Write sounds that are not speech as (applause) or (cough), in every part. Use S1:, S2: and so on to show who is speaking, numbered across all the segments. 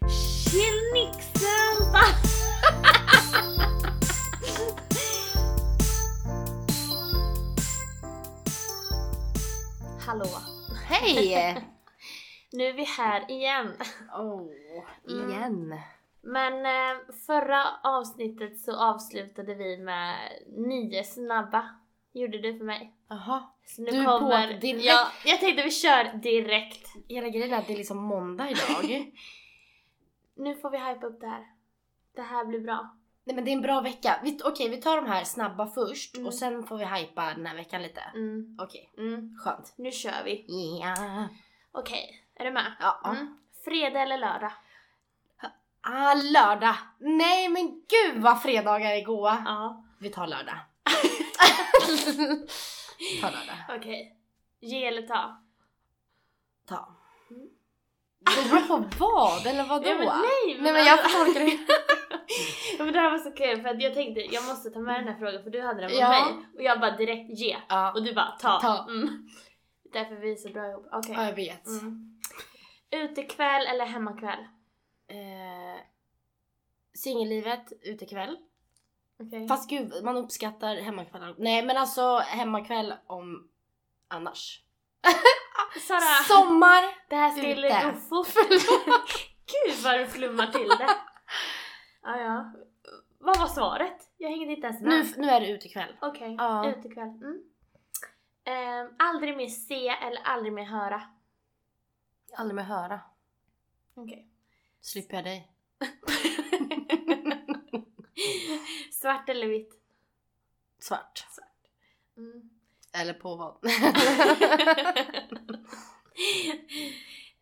S1: (laughs) Nu är vi här igen.
S2: (laughs) Åh,
S1: Mm.
S2: igen.
S1: Men eh, förra avsnittet så avslutade vi med nio snabba. Gjorde du för mig.
S2: Jaha.
S1: Så nu
S2: Du på
S1: kommer...
S2: direkt.
S1: Ja, jag tänkte vi kör direkt.
S2: Hela grejen är att det är liksom måndag idag.
S1: Nu får vi hypa upp det här. Det här blir bra.
S2: Nej men det är en bra vecka. Vi, okej vi tar de här snabba först
S1: Mm.
S2: och sen får vi hypa den här veckan lite.
S1: Mm.
S2: Okej,
S1: Mm.
S2: skönt.
S1: Nu kör vi.
S2: Yeah.
S1: Okej, är du med?
S2: Ja.
S1: Mm. Fredag eller lördag?
S2: Ah, lördag! Nej men gud vad fredagar är goa!
S1: Ja.
S2: Vi tar lördag. ta lördag.
S1: Okej. Ge eller ta?
S2: Ta.
S1: Mm.
S2: Det beror på vad eller vadå?
S1: Ja, men nej, men
S2: Nej men jag
S1: alltså-
S2: tolkar det.
S1: (laughs) Ja, men det här var så kul för att jag tänkte jag måste ta med den här frågan för du hade den med
S2: Ja.
S1: mig och jag bara direkt ge
S2: Ja,
S1: och du bara ta.
S2: Ta.
S1: Mm. Därför vi är så bra ihop. Okej.
S2: ja jag vet.
S1: Mm. Utekväll eller hemmakväll?
S2: Eh, singellivet utekväll.
S1: Okej.
S2: Fast gud, man uppskattar hemmakvällar. Nej men alltså hemmakväll om annars.
S1: Sara,
S2: Sommar!
S1: det här skulle
S2: ute.
S1: gå fort. (laughs) Gud vad du flummar till det. Ja, ja. Vad var svaret? Jag hängde inte ens med.
S2: Nu, nu är det utekväll.
S1: Okej,
S2: Ja.
S1: utekväll. Mm. Ehm, aldrig mer se eller aldrig mer höra.
S2: Aldrig mer höra.
S1: Okej.
S2: Slipper jag dig.
S1: (laughs) Svart eller vitt?
S2: (laughs) Svart.
S1: Mm.
S2: Eller på vad?
S1: (laughs)
S2: (laughs)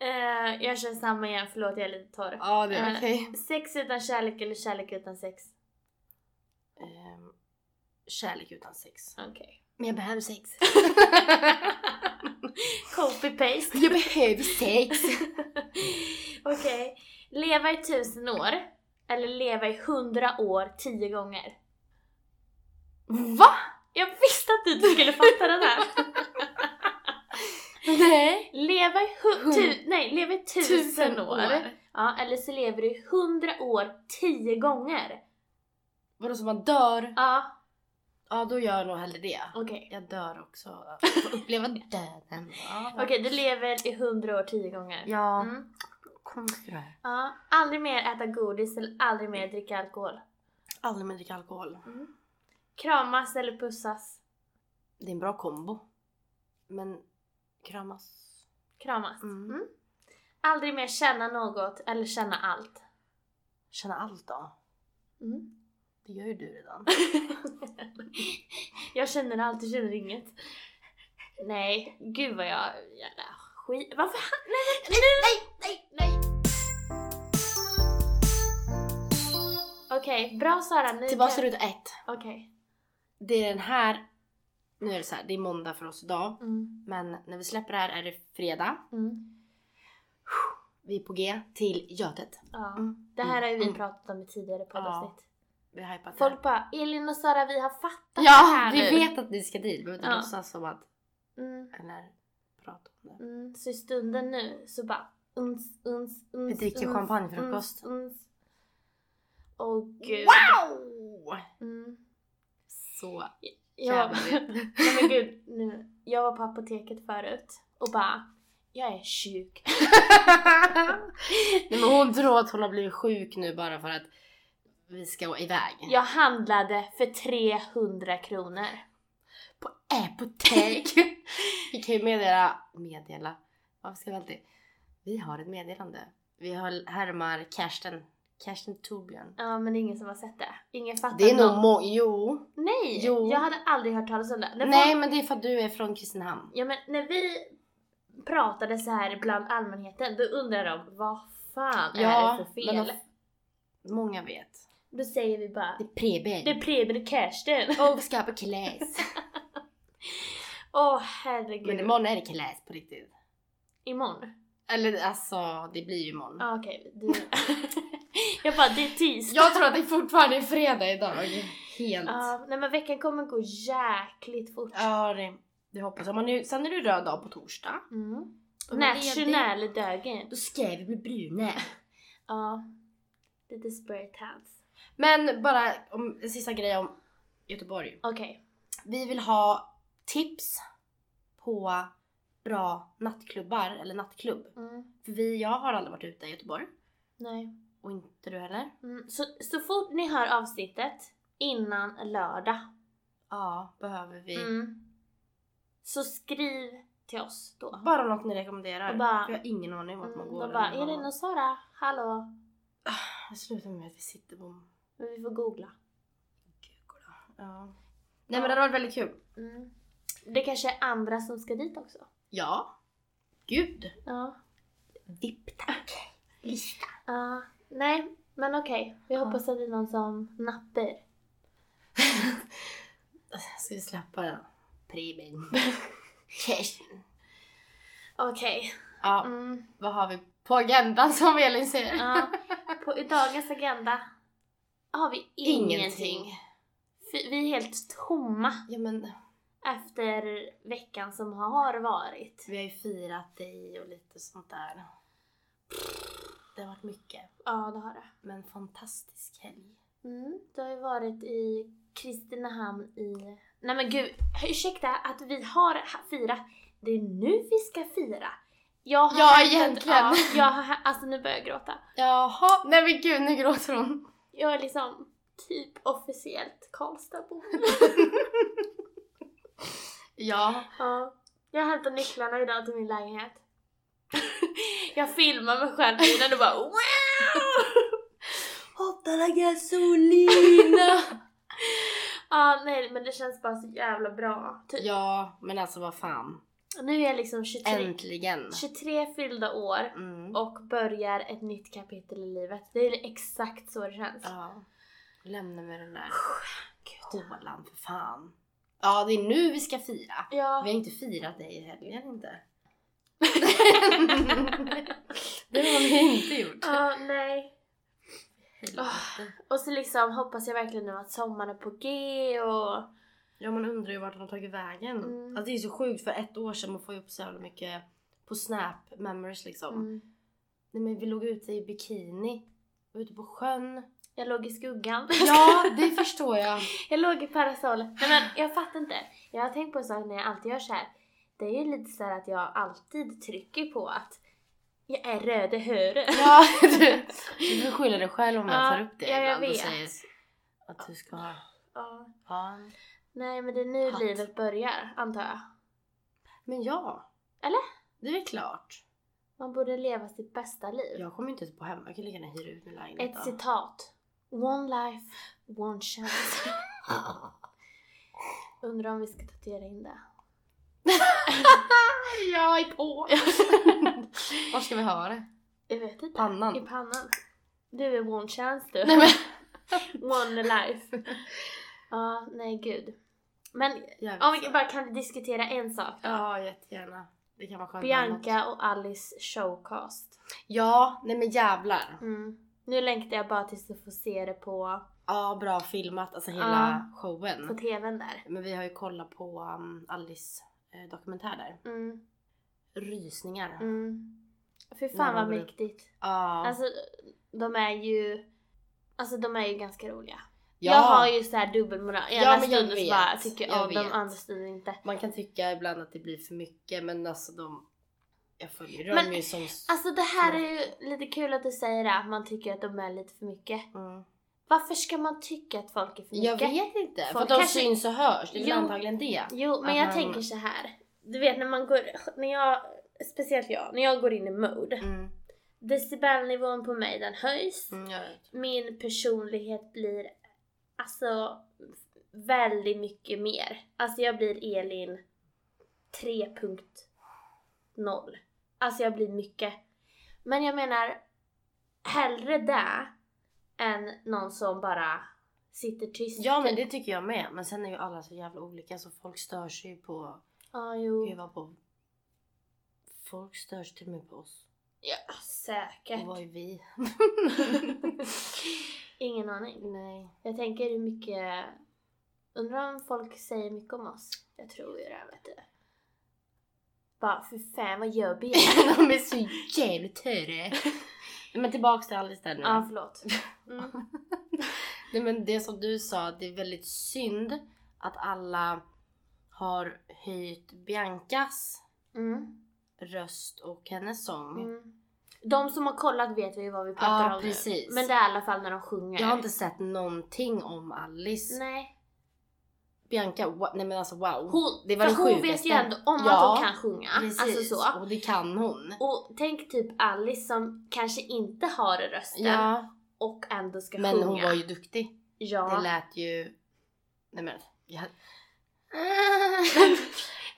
S1: Eh, jag kör samma igen, förlåt jag är lite torr.
S2: ja det
S1: Eh,
S2: är okej.
S1: Sex utan kärlek eller kärlek utan sex?
S2: Ehm, kärlek utan sex.
S1: Okej.
S2: Men jag behöver sex.
S1: Copy-paste.
S2: (laughs) jag behöver sex!
S1: (laughs) Okej. Leva i tusen år eller leva i hundra år tio gånger?
S2: Va?
S1: Jag visste att du inte skulle fatta den (laughs) här.
S2: Nej.
S1: Leva i, hu-
S2: Hun-
S1: tu- nej, leva i tusen, år. Ja, eller så lever du i hundra år tio gånger.
S2: Vadå så man dör?
S1: Ja,
S2: Ja då gör jag nog hellre det.
S1: okej.
S2: Jag dör också. (laughs) Får uppleva döden. Ja,
S1: Okej, du lever i hundra år tio gånger.
S2: Ja,
S1: Mm.
S2: konstigt det här.
S1: ja. Aldrig mer äta godis eller aldrig mer dricka alkohol. Mm.
S2: Aldrig mer dricka alkohol.
S1: Kramas eller pussas?
S2: Det är en bra kombo. Men kramas.
S1: Kramas.
S2: Mm.
S1: Mm. Aldrig mer känna något eller känna allt.
S2: Känna allt då.
S1: Mm.
S2: Det gör ju du (laughs) redan.
S1: (laughs) jag känner allt, jag känner inget. Nej, gud vad jag... Jävla skit. Varför han... Nej, nej, nej, nej, nej, nej. Okej, bra Sara. Nu
S2: Tillbaka till
S1: kan-
S2: ruta ett.
S1: Okej.
S2: Det är den här. Nu är det så här, det är måndag för oss idag.
S1: Mm.
S2: Men när vi släpper det här är det fredag.
S1: Mm.
S2: Vi är på G till Götet.
S1: Ja.
S2: Mm.
S1: Det här har ju vi
S2: Mm.
S1: pratat om i tidigare poddavsnitt.
S2: Vi har hypat det här.
S1: Folk bara “Elin och Sara, vi har fattat det
S2: Ja,
S1: här
S2: vi
S1: nu."
S2: vet att ni ska dit. Vi behöver inte
S1: Ja.
S2: låtsas som att...
S1: Mm.
S2: Eller prata om det.
S1: Mm, så i stunden nu så bara uns, uns, uns,
S2: Vi dricker
S1: uns,
S2: champagnefrukost.
S1: Uns, uns. Åh gud.
S2: Wow!
S1: Mm.
S2: Så
S1: Jag,
S2: jävla
S1: (laughs) nej men gud, nu. jag var på apoteket förut och bara jag är sjuk.
S2: Nej, men hon tror att hon har blivit sjuk nu bara för att vi ska iväg.
S1: Jag handlade för 300 kronor.
S2: På apotek! (laughs) vi kan ju meddela... Meddela? Varför ska vi alltid... Vi har ett meddelande. Vi har härmar Karsten. Karsten Torbjörn.
S1: Ja men det är ingen som har sett det. Ingen fattar
S2: Det är nog
S1: någon-
S2: må... Jo.
S1: Nej!
S2: Jo.
S1: Jag hade aldrig hört talas om det. När
S2: Nej
S1: folk-
S2: men det är för att du är från Kristinehamn.
S1: Ja men när vi pratade så här bland allmänheten då undrar de vad fan är det för fel?
S2: men de- Många vet.
S1: Då säger vi bara
S2: Det är Preben.
S1: Det är Preben och Kirsten.
S2: Och ska på kalas.
S1: (laughs) Åh herregud.
S2: men imorgon är det kalas på riktigt.
S1: Imorgon?
S2: Eller alltså, det blir ju imorgon.
S1: Ja okej. Du... (laughs) jag bara det är tisdag.
S2: Jag tror att det fortfarande är fredag idag. Helt.
S1: Ja, nej men veckan kommer gå jäkligt fort.
S2: Ja, det, det hoppas jag. Man är, ju- sen är det röd dag på torsdag.
S1: Mm.
S2: Och ledig.
S1: National dagen.
S2: Då ska vi bli bruna.
S1: Ja. Lite spray-tans.
S2: Men bara om, en sista grej om Göteborg.
S1: Okej.
S2: Vi vill ha tips på bra nattklubbar eller nattklubb.
S1: Mm.
S2: För vi, jag har aldrig varit ute i Göteborg.
S1: Nej.
S2: Och inte du heller.
S1: Mm. Så, så fort ni hör avsnittet innan lördag
S2: Ja, behöver vi.
S1: mm. så skriv till oss då.
S2: Bara något ni rekommenderar.
S1: Och bara-
S2: för jag har ingen aning vart man
S1: Mm,
S2: går.
S1: de bara,
S2: eller vad
S1: Elin
S2: man-
S1: och Sara, hallå?
S2: Sluta med att vi sitter på...
S1: Men vi får googla.
S2: Ja. Nej men det hade varit väldigt kul.
S1: Mm. Det kanske är andra som ska dit också.
S2: Ja. Gud.
S1: Ja.
S2: Vipp tack. Lista.
S1: Ja. nej, men okej. Vi
S2: Ja.
S1: hoppas att det är någon som nappar.
S2: Ska vi släppa (laughs) Preben?
S1: Okej.
S2: ja,
S1: Mm.
S2: vad har vi på agendan som Elin säger?
S1: Ja. På, I dagens agenda har vi ingenting. Fy- Vi är helt tomma
S2: Ja men
S1: efter veckan som har varit.
S2: vi har ju firat dig och lite sånt där. Det har varit mycket.
S1: Ja, det har det.
S2: Men fantastisk helg.
S1: Mm. Du har ju varit i Kristinehamn i... Nej men gud, ursäkta att vi har ha- firat. Det är nu vi ska fira. Jag
S2: Ja,
S1: hämtat-
S2: egentligen.
S1: Ja, jag har, hä- alltså nu börjar jag gråta.
S2: Jaha, nej men gud nu gråter hon.
S1: Jag är liksom typ officiellt Karlstadbo.
S2: Ja.
S1: (laughs) Ja. Jag hämtade nycklarna idag till min lägenhet. (laughs) jag filmar mig själv i den och bara wow!
S2: Hotta la gasolina!
S1: Ja, nej men det känns bara så jävla bra. Typ.
S2: (laughs) ja, men alltså vad fan.
S1: Nu är jag liksom 23,
S2: Äntligen.
S1: 23 fyllda år
S2: Mm.
S1: och börjar ett nytt kapitel i livet. Det är exakt så det känns.
S2: Ja. Lämna mig den där hålan för fan. Ja, det är nu vi ska fira.
S1: Ja.
S2: Vi har inte firat dig i
S1: (laughs)
S2: helgen inte. det har vi inte gjort.
S1: Ja, nej. Och så liksom hoppas jag verkligen nu att sommaren är på G och...
S2: Ja, man undrar ju vart han har tagit vägen.
S1: Mm.
S2: Alltså, det är så sjukt för ett år sedan man får ju upp så jävla mycket på snap memories liksom.
S1: Mm.
S2: Nej men vi låg ute i bikini. Vi var ute på
S1: (laughs)
S2: sjön.
S1: Jag låg i skuggan.
S2: Ja, det förstår jag.
S1: Jag låg i parasollet. Nej men jag fattar inte. Jag har tänkt på en sak när jag alltid gör så här. Det är ju lite så här att jag alltid trycker på att jag är röde
S2: (laughs)
S1: höre.
S2: Ja, du, du får skylla dig själv om jag
S1: Ja,
S2: tar upp det
S1: ja, jag
S2: ibland och
S1: vet.
S2: säger att du ska ha
S1: Ja.
S2: ha en
S1: Nej men det är nu
S2: Hatt.
S1: livet börjar, antar jag.
S2: Men ja.
S1: Eller?
S2: Det är väl klart.
S1: Man borde leva sitt bästa liv.
S2: Jag kommer inte ens på hemma. Jag kan lika gärna hyra ut min lägenhet.
S1: Ett
S2: då.
S1: citat. One life, one chance. Undrar om vi ska tatuera in det.
S2: (laughs) jag är
S1: (laughs)
S2: på! Var ska vi ha det?
S1: Jag vet inte.
S2: Pannan.
S1: I pannan. Du är one chance du.
S2: Nej, men.
S1: (laughs) One life. Ja, nej gud. Men
S2: Jag
S1: om
S2: vet
S1: vi
S2: inte.
S1: bara kan diskutera en sak då.
S2: Alltså. Ja, jättegärna. Det kan vara skönt. med annat.
S1: Bianca och Alice showcast.
S2: Ja, nej men jävlar.
S1: Mm. Nu längtar jag bara tills du får se det på,
S2: Ja, bra filmat. Alltså hela
S1: på
S2: showen.
S1: tvn där.
S2: Men vi har ju kollat på um, Alice eh, dokumentär där.
S1: Mm.
S2: Rysningar.
S1: Mm. Fy
S2: Mm,
S1: fan vad
S2: vad bra.
S1: mäktigt.
S2: Ja.
S1: Alltså de är ju Alltså de är ju ganska roliga.
S2: ja.
S1: Jag har ju såhär dubbelmoral. Ena
S2: Ja, men jag
S1: stunden så
S2: vet.
S1: bara tycker jag
S2: Jag
S1: om dem,
S2: vet.
S1: andra stunden inte.
S2: Man kan tycka ibland att det blir för mycket men alltså de... Jag följer
S1: Men,
S2: dem ju som...
S1: Alltså det här är ju lite kul att du säger det, att man tycker att de är lite för mycket.
S2: Mm.
S1: Varför ska man tycka att folk är för mycket?
S2: Jag vet inte, för
S1: Folk
S2: att de
S1: kanske-
S2: syns och hörs. Det är väl
S1: Jo.
S2: antagligen det.
S1: Jo, men
S2: Att
S1: jag
S2: man-
S1: tänker så här. Du vet när man går, när jag, speciellt jag, när jag går in i mode.
S2: Mm.
S1: Decibelnivån på mig den höjs.
S2: Mm, jag vet.
S1: Min personlighet blir alltså väldigt mycket mer. Alltså jag blir Elin 3.0. Alltså jag blir mycket. Men jag menar hellre det än någon som bara sitter tyst. typ.
S2: Ja men det tycker jag med. Men sen är ju alla så jävla olika så folk stör sig ju på...
S1: Ja, jo.
S2: Gud vad på... Folk stör sig till och med på oss.
S1: Ja, säkert.
S2: Och vad är
S1: (laughs)
S2: vi?
S1: Ingen aning.
S2: Nej. (laughs)
S1: Jag tänker hur mycket... Undrar om folk säger mycket om oss? Jag tror ju det, vet du. Bara, för fan vad gör
S2: (laughs)
S1: vi?
S2: de är så jävla törre.
S1: (laughs)
S2: men tillbaks till Alice där nu.
S1: Ja, förlåt. Mm.
S2: Nej men det som du sa, det är väldigt synd att alla har höjt Biancas
S1: Mm.
S2: röst och hennes sång.
S1: Mm. De som har kollat vet ju vad vi pratar
S2: Ja,
S1: om
S2: precis.
S1: nu. Men det är i alla fall när de sjunger.
S2: Jag har inte sett någonting om Alice.
S1: Nej.
S2: Bianca, wa- nej men alltså wow.
S1: Hon,
S2: Det var
S1: för
S2: det
S1: hon vet
S2: sjukaste.
S1: ju ändå om
S2: Ja,
S1: att hon kan sjunga. Alltså så.
S2: Och det kan ah, hon.
S1: Och tänk typ Alice som kanske inte har rösten
S2: Ja,
S1: och ändå ska
S2: men
S1: sjunga.
S2: hon var ju duktig.
S1: Ja.
S2: Det lät ju... Nej men... Jag...
S1: (laughs)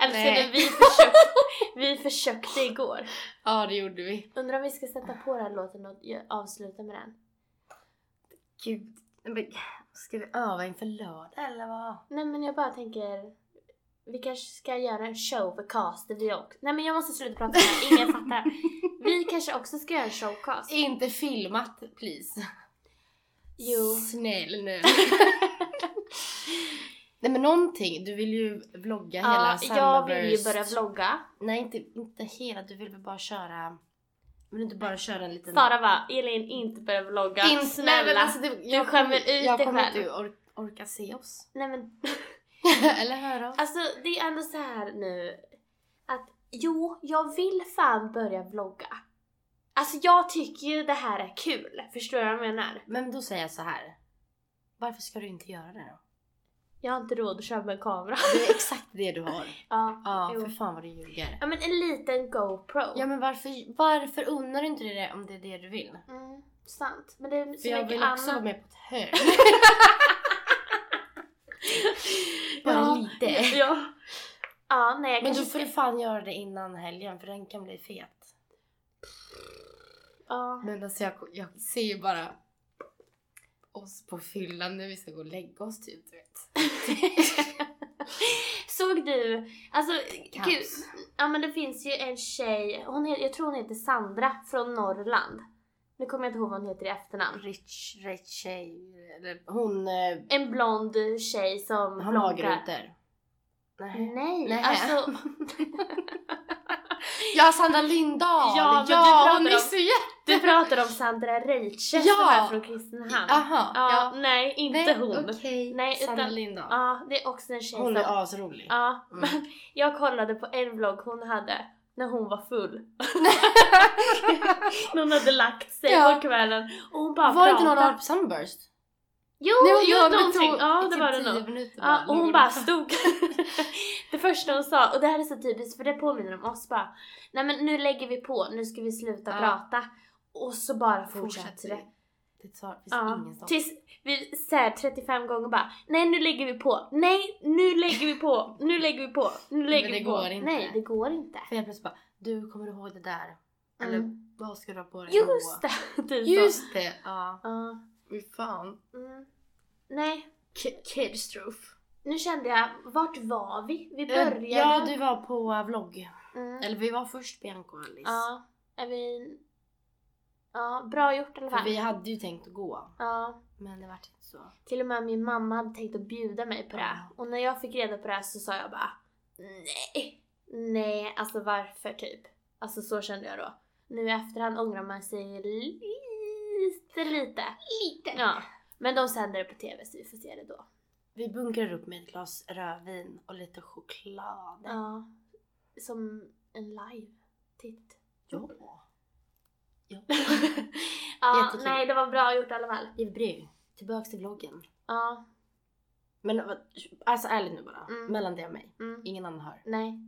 S2: Ah.
S1: Älskade
S2: Nej.
S1: Alltså, vi försökte,
S2: (laughs)
S1: vi försökte igår.
S2: ja det gjorde vi.
S1: Undrar om vi ska sätta på den här låten och gö- avsluta med den.
S2: Gud. nej, Men, ska vi öva inför lördag eller vad?
S1: Nej men jag bara tänker, vi kanske ska göra en showcast där vi också... Nej men jag måste sluta prata, ingen fattar.
S2: (laughs)
S1: Vi kanske också ska göra en showcast.
S2: Inte filmat please.
S1: Jo. (laughs)
S2: Snäll nu. nej men någonting, du vill ju vlogga hela
S1: Ja, jag vill ju
S2: Summerburst.
S1: börja vlogga.
S2: Nej inte, inte hela, du vill väl bara köra... Vill du inte bara köra en liten...
S1: Sara bara, Elin inte börja vlogga.
S2: In- Nej, men
S1: Snälla.
S2: alltså, det, jag
S1: skämmer
S2: kommer-
S1: ut dig
S2: Jag kommer
S1: själv.
S2: inte or- orka se oss. (laughs)
S1: Nej men
S2: Eller höra oss.
S1: alltså det är ändå så här nu att jo, jag vill fan börja vlogga. Alltså jag tycker ju det här är kul, förstår du vad jag menar?
S2: Men då säger jag så här. Varför ska du inte göra det då?
S1: Jag har inte råd att köpa en kamera. (laughs)
S2: Det är exakt det du har.
S1: Ja,
S2: Ja,
S1: jo.
S2: för fan vad du ljuger.
S1: ja men en liten GoPro.
S2: Ja men varför, varför unnar du inte dig det om det är det du vill?
S1: Mm, sant. Men det är så
S2: För jag
S1: mycket
S2: vill
S1: annat.
S2: också vara med på ett (laughs) hörn. Bara
S1: ja,
S2: lite.
S1: (laughs) Ja. Ja, nej jag
S2: Men
S1: kanske
S2: då får du fan göra det innan helgen för den kan bli fet.
S1: Ja.
S2: Men alltså jag, jag ser ju bara oss på fyllan när vi ska gå och lägga oss typ. Du vet.
S1: (laughs) Såg du, alltså
S2: Kaos.
S1: gud, ja men det finns ju en tjej, hon heter, jag tror hon heter Sandra från Norrland. Nu kommer jag inte ihåg vad hon heter i efternamn.
S2: Rich, rich tjej. Eller hon eh,
S1: En blond tjej som
S2: har
S1: bloggar.
S2: magrutor. Nej.
S1: Nej,
S2: Nej. (laughs)
S1: alltså
S2: Ja, Sandra Lindahl!
S1: Ja, men du
S2: ja
S1: pratar
S2: hon är
S1: om-
S2: så jätte...
S1: du pratar om Sandra Reiche
S2: Ja.
S1: som är från Kristinehamn. Ja,
S2: Aha,
S1: nej inte
S2: Nej,
S1: hon.
S2: Okej,
S1: Nej,
S2: Sandra
S1: utan-
S2: Lindahl.
S1: Ja, det är också en tjej
S2: hon
S1: som
S2: är asrolig. (laughs)
S1: Ja,
S2: Mm.
S1: (laughs) jag kollade på en vlogg hon hade när hon var full. när hon hade lagt sig
S2: Ja.
S1: på kvällen och hon bara
S2: var det inte
S1: pratade.
S2: någon dag på Sunburst?
S1: Jo,
S2: Ah, hon
S1: jo
S2: var med
S1: någonting!
S2: tå-
S1: Ja,
S2: i
S1: det
S2: typ
S1: var det
S2: 10
S1: nog.
S2: minuter
S1: Ja, och
S2: låg
S1: hon
S2: där.
S1: bara stod. (laughs) det första hon sa, och det här är så typiskt för det påminner om oss bara. Nej men nu lägger vi på, nu ska vi sluta
S2: Ja.
S1: prata. Och så bara fortsätter
S2: Fortsätter
S1: det.
S2: det. Det tar, finns
S1: Ja,
S2: ingen stopp.
S1: tills vi säger 35 gånger bara Nej nu lägger vi på, nej nu lägger vi
S2: (laughs)
S1: på, nu lägger vi på, nu lägger
S2: det
S1: vi på.
S2: går inte.
S1: Nej det går inte.
S2: För jag plötsligt bara, du kommer du ihåg det där?
S1: Mm.
S2: Eller vad ska du ha på dig
S1: Just
S2: då?
S1: det! (laughs) Typ så.
S2: Just det! Ja,
S1: Ja.
S2: fy fan.
S1: mm. Nej,
S2: Kidstrof.
S1: nu kände jag, vart var vi? Vi började...
S2: Eh, Ja, du var på eh, vlogg.
S1: Mm.
S2: Eller vi var först Bianca och Alice.
S1: Ja, är vi... Ja, bra gjort i alla
S2: För
S1: fall.
S2: vi hade ju tänkt att gå,
S1: Ja,
S2: men det vart inte så.
S1: till och med min mamma hade tänkt att bjuda mig på det. här.
S2: Ja.
S1: Och när jag fick reda på det här så sa jag bara nej, nej, alltså varför typ? Alltså så kände jag då. Nu i efterhand ångrar man sig lite, lite.
S2: Lite.
S1: Ja, men de sänder det på TV så vi får se det då.
S2: Vi bunkrar upp med ett glas rödvin och lite choklad.
S1: Ja. Som en
S2: (laughs)
S1: live-titt.
S2: Ja. ja.
S1: ja,
S2: Jättekul.
S1: nej det var bra gjort i alla fall.
S2: Ivry, tillbaks till vloggen.
S1: Ja,
S2: Men vad- alltså ärligt nu bara,
S1: Mm.
S2: mellan dig och mig.
S1: mm.
S2: Ingen annan hör.
S1: nej.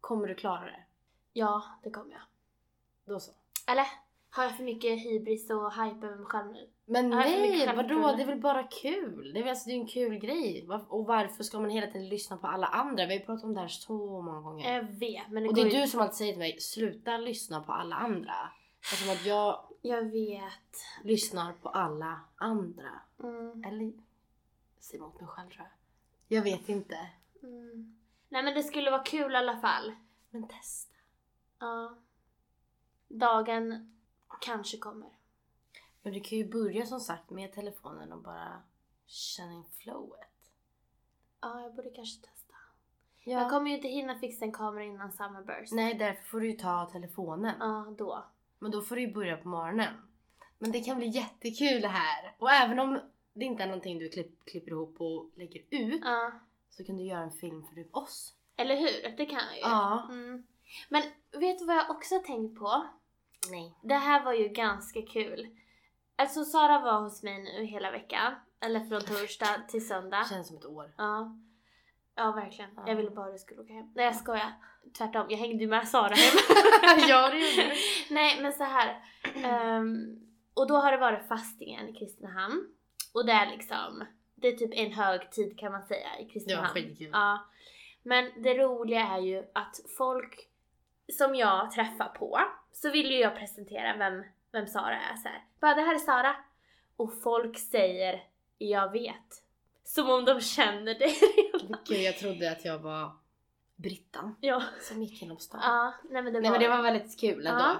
S2: Kommer du klara det?
S1: Ja, det kommer jag.
S2: Då så.
S1: Eller? Har jag för mycket hybris och hype över mig själv nu?
S2: Men
S1: Ja, jag får mycket
S2: nej, vadå?
S1: självförtroende.
S2: Det är väl bara kul? Det är, väl- alltså, det är ju en kul grej. Var- Och varför ska man hela tiden lyssna på alla andra? Vi har ju pratat om det här så många gånger.
S1: Jag vet, Äh, men det
S2: Och
S1: går
S2: det
S1: ju...
S2: är du som alltid säger till mig, sluta lyssna på alla andra. Eftersom att jag
S1: Jag vet.
S2: lyssnar på alla andra.
S1: Mm.
S2: Eller, säg emot mig själv tror jag. Jag vet inte.
S1: Mm. Nej men det skulle vara kul i alla fall.
S2: Men testa.
S1: Ja. Dagen kanske kommer.
S2: Men du kan ju börja som sagt med telefonen och bara känna in flowet.
S1: Ja, jag borde kanske testa. Jag kommer ju inte hinna fixa en kamera innan Summerburst.
S2: Nej, därför får du ju ta telefonen.
S1: Ja, då.
S2: Men då får du ju börja på morgonen. Men det kan bli jättekul det här. Och även om det inte är någonting du klipp, klipper ihop och lägger ut
S1: Ja.
S2: så kan du göra en film för typ oss.
S1: Eller hur? Det kan jag ju.
S2: Ja.
S1: Mm. Men vet du vad jag också har tänkt på?
S2: Nej.
S1: Det här var ju ganska kul. Alltså Sara var hos mig nu hela veckan. Eller från torsdag till söndag.
S2: Känns som ett år. (laughs)
S1: Ja. Ja verkligen.
S2: Ja.
S1: Jag ville bara att du skulle åka hem. Nej jag skojar. Tvärtom, jag hängde ju med Sara
S2: (laughs)
S1: hem.
S2: ja, det gjorde du.
S1: Nej men så här. Ehm, och då har det varit fastingen i Kristinehamn. Och det är liksom, det är typ en högtid kan man säga i
S2: Det var
S1: Kristinehamn.
S2: skitkul.
S1: Ja. Men det roliga är ju att folk som jag träffar på, så vill ju jag presentera vem, vem Sara är så här. Bara det här är Sara. Och folk säger jag vet. Som om de känner dig (laughs) redan.
S2: Gud, jag trodde att jag var Brittan
S1: Ja.
S2: som gick genom stan.
S1: ja. Nej men det var,
S2: Nej men det var väldigt kul ändå.
S1: Ja.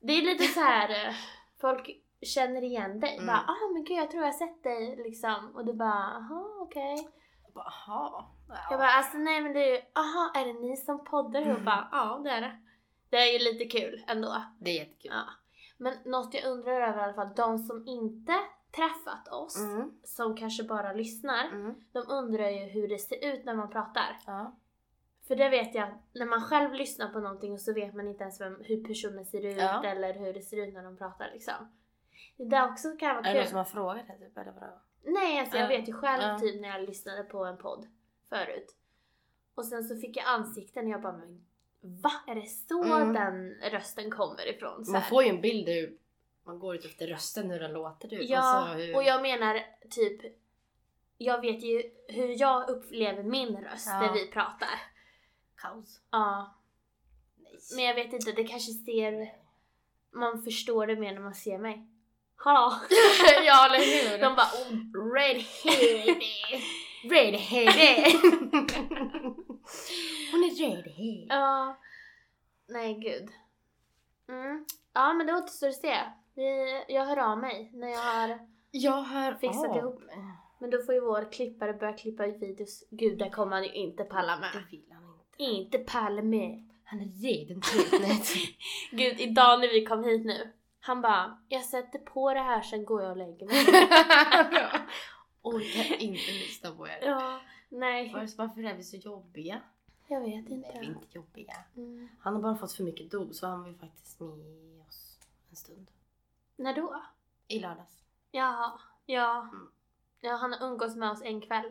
S1: det är lite så här. eh, folk känner igen dig.
S2: Mm.
S1: Bara ah men gud jag tror jag har sett dig liksom. Och du bara aha okej.
S2: Jag bara, Jaha. Ja.
S1: Jag bara alltså nej men det är ju, aha är det ni som poddar? Och jag
S2: Mm.
S1: bara ja det är det. Det är ju lite kul ändå.
S2: Det är jättekul.
S1: Ja. Men något jag undrar över i alla fall, de som inte träffat oss,
S2: Mm.
S1: som kanske bara lyssnar,
S2: Mm.
S1: de undrar ju hur det ser ut när man pratar.
S2: Ja.
S1: För det vet jag, när man själv lyssnar på någonting och så vet man inte ens vem, hur personen ser ut
S2: Ja.
S1: eller hur det ser ut när de pratar liksom. Det där också kan vara
S2: Är det någon
S1: kul.
S2: som har frågat det typ eller vadå?
S1: Nej, alltså jag
S2: Ja.
S1: vet ju själv
S2: Ja.
S1: typ när jag lyssnade på en podd förut. Och sen så fick jag ansikten och jag bara men va? Är det så
S2: Mm.
S1: den rösten kommer ifrån? Så
S2: Man
S1: här.
S2: får ju en bild hur man går ut efter rösten hur den låter typ.
S1: Ja,
S2: Alltså, hur...
S1: och jag menar typ, jag vet ju hur jag upplever min röst
S2: Ja.
S1: när vi pratar.
S2: Kaos.
S1: Ja,
S2: Nej.
S1: men jag vet inte, det kanske ser, man förstår det mer när man ser mig. (laughs) Hallå!
S2: ja eller hur?
S1: De bara oh,
S2: Red
S1: (laughs) red
S2: (laughs) Hon är redhead.
S1: Ja, nej gud. Mm. Ja men det återstår att se. Vi, jag hör av mig när jag har,
S2: Jag har
S1: Fixat
S2: av
S1: ihop.
S2: mig.
S1: men då får ju vår klippare börja klippa videos. Gud, det kommer han ju inte palla med.
S2: Det vill han inte.
S1: Inte palla med.
S2: Han är redan tröttnat.
S1: Gud, idag när vi kom hit nu. Han bara, jag sätter på det här sen går jag och lägger mig. (laughs)
S2: Ja. (laughs) Orkar inte lyssna på er.
S1: ja, nej.
S2: Varför varför är vi så jobbiga?
S1: Jag vet
S2: Nej, vi är
S1: inte.
S2: inte jobbiga.
S1: Mm.
S2: Han har bara fått för mycket dos så han var ju faktiskt med oss en stund.
S1: När då?
S2: I lördags.
S1: Jaha, ja.
S2: Mm.
S1: Ja, han har umgåtts med oss en kväll.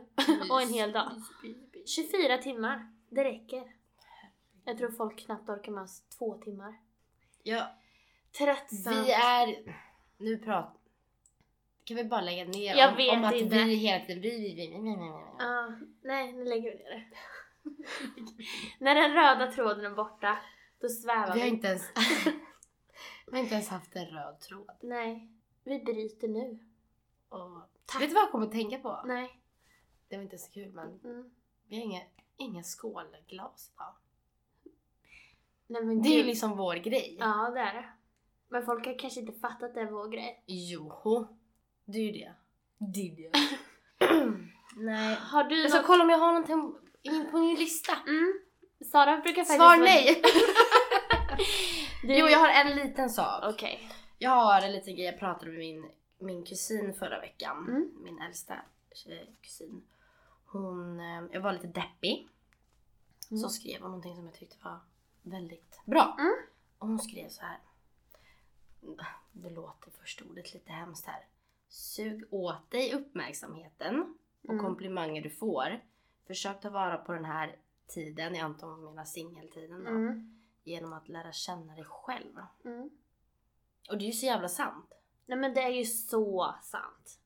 S1: Och en hel dag.
S2: Mys, mys, mys.
S1: 24 timmar, det räcker. Jag tror folk knappt orkar med oss två timmar.
S2: Ja,
S1: Tröttsamt.
S2: vi är... Nu pratar... Kan vi bara lägga ner
S1: Jag
S2: om,
S1: vet
S2: om att
S1: inte.
S2: vi hela tiden... Vi, vi, vi, vi, vi, vi, vi.
S1: Ja, nej, nu lägger vi ner det. (laughs) När den röda tråden är borta, då svävar
S2: Vi
S1: vi.
S2: har inte ens... (laughs) vi har inte ens haft en röd tråd.
S1: Nej, vi bryter nu.
S2: Och, vet du vad jag kommer att tänka på?
S1: Nej.
S2: Det var inte så kul men
S1: Mm.
S2: vi har inga, inga skålglas idag.
S1: Nej men
S2: Det är ju
S1: gud.
S2: liksom vår grej.
S1: Mm. Ja det är det. Men folk har kanske inte fattat att det är vår grej.
S2: Joho. Det är ju det. Det är det. (clears throat) Nej.
S1: Har du
S2: Jag ska
S1: något-
S2: kolla om jag har någonting in på min lista.
S1: Mm. Sara brukar faktiskt...
S2: Svar nej!
S1: Du...
S2: Jo, jag har en liten sak.
S1: Okej.
S2: Jag har en liten grej. Jag pratade med min, min kusin förra veckan.
S1: Mm.
S2: Min äldsta tjej- kusin. Hon, eh, jag var lite deppig.
S1: Mm.
S2: Så skrev hon någonting som jag tyckte var väldigt bra.
S1: Mm.
S2: Och hon skrev så här. Det låter första ordet lite hemskt här. Sug åt dig uppmärksamheten och
S1: Mm.
S2: komplimanger du får. Försök ta vara på den här tiden, jag antar hon menar singeltiden då,
S1: Mm.
S2: genom att lära känna dig själv.
S1: Mm.
S2: Och det är ju så jävla sant.
S1: Nej men det är ju så sant.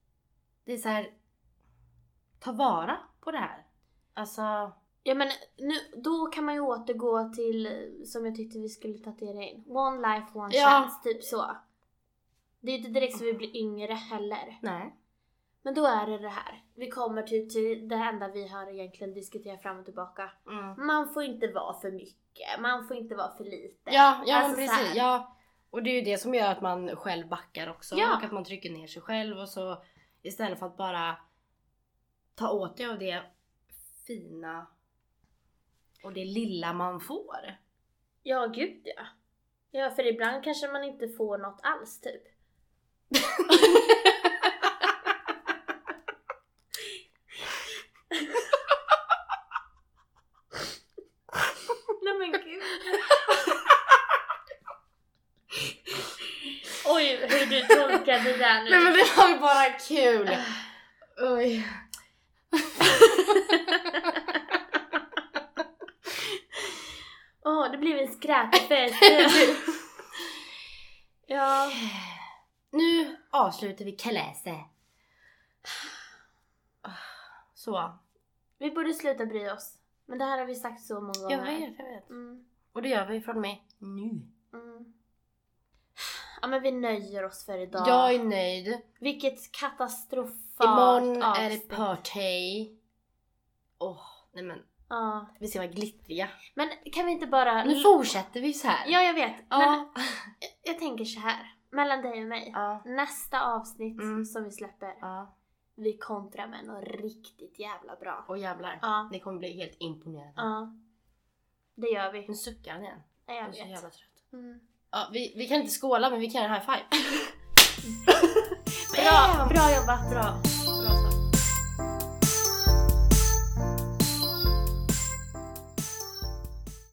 S2: Det är så här. Ta vara på det här. Alltså.
S1: Ja men nu, då kan man ju återgå till eh, som jag tyckte vi skulle tatuera in. One life, one
S2: Ja.
S1: chance. Typ så. Det är ju inte direkt så vi blir yngre heller.
S2: Nej.
S1: Men då är det det här. Vi kommer till, till det enda vi har egentligen diskuterat fram och tillbaka.
S2: Mm.
S1: Man får inte vara för mycket, man får inte vara för lite.
S2: Ja, ja
S1: Alltså
S2: men
S1: så
S2: precis.
S1: här.
S2: Ja. Och det är ju det som gör att man själv backar också.
S1: Ja.
S2: Och att man trycker ner sig själv och så istället för att bara ta åt dig av det fina och det lilla man får.
S1: Ja, gud ja. Ja, för ibland kanske man inte får något alls typ. Nej men gud. det där nu.
S2: Nej men det var ju bara kul! Oj. (laughs)
S1: Åh, det blev en
S2: (laughs)
S1: skräpfest. ja.
S2: Nu avslutar vi kalaset. Så.
S1: Vi borde sluta bry oss. Men det här har vi sagt så många gånger.
S2: Jag vet, jag vet.
S1: Mm,
S2: Och det gör vi från mig nu.
S1: mm. Ja men vi nöjer oss för idag.
S2: Jag är nöjd.
S1: Vilket katastrofalt
S2: Imorgon är det
S1: avsnitt.
S2: party. Åh, nej men.
S1: Ja.
S2: Vi ska vara glittriga.
S1: Men kan vi inte bara...
S2: Nu fortsätter vi så här.
S1: Ja jag vet. Men
S2: Ja.
S1: jag tänker så här. Mellan dig och mig.
S2: Ja.
S1: Nästa avsnitt
S2: Mm.
S1: som vi släpper.
S2: ja.
S1: Vi kontrar med något riktigt jävla bra.
S2: Och jävlar.
S1: Ja.
S2: Ni kommer bli helt imponerade.
S1: Ja. Det gör vi.
S2: Nu suckar han igen.
S1: Ja,
S2: Jag
S1: Jag
S2: är så
S1: vet.
S2: jävla trött.
S1: Mm.
S2: Ja, vi,
S1: (laughs)
S2: vi kan inte skåla men vi kan göra en high five.
S1: Bra, bra jobbat, bra.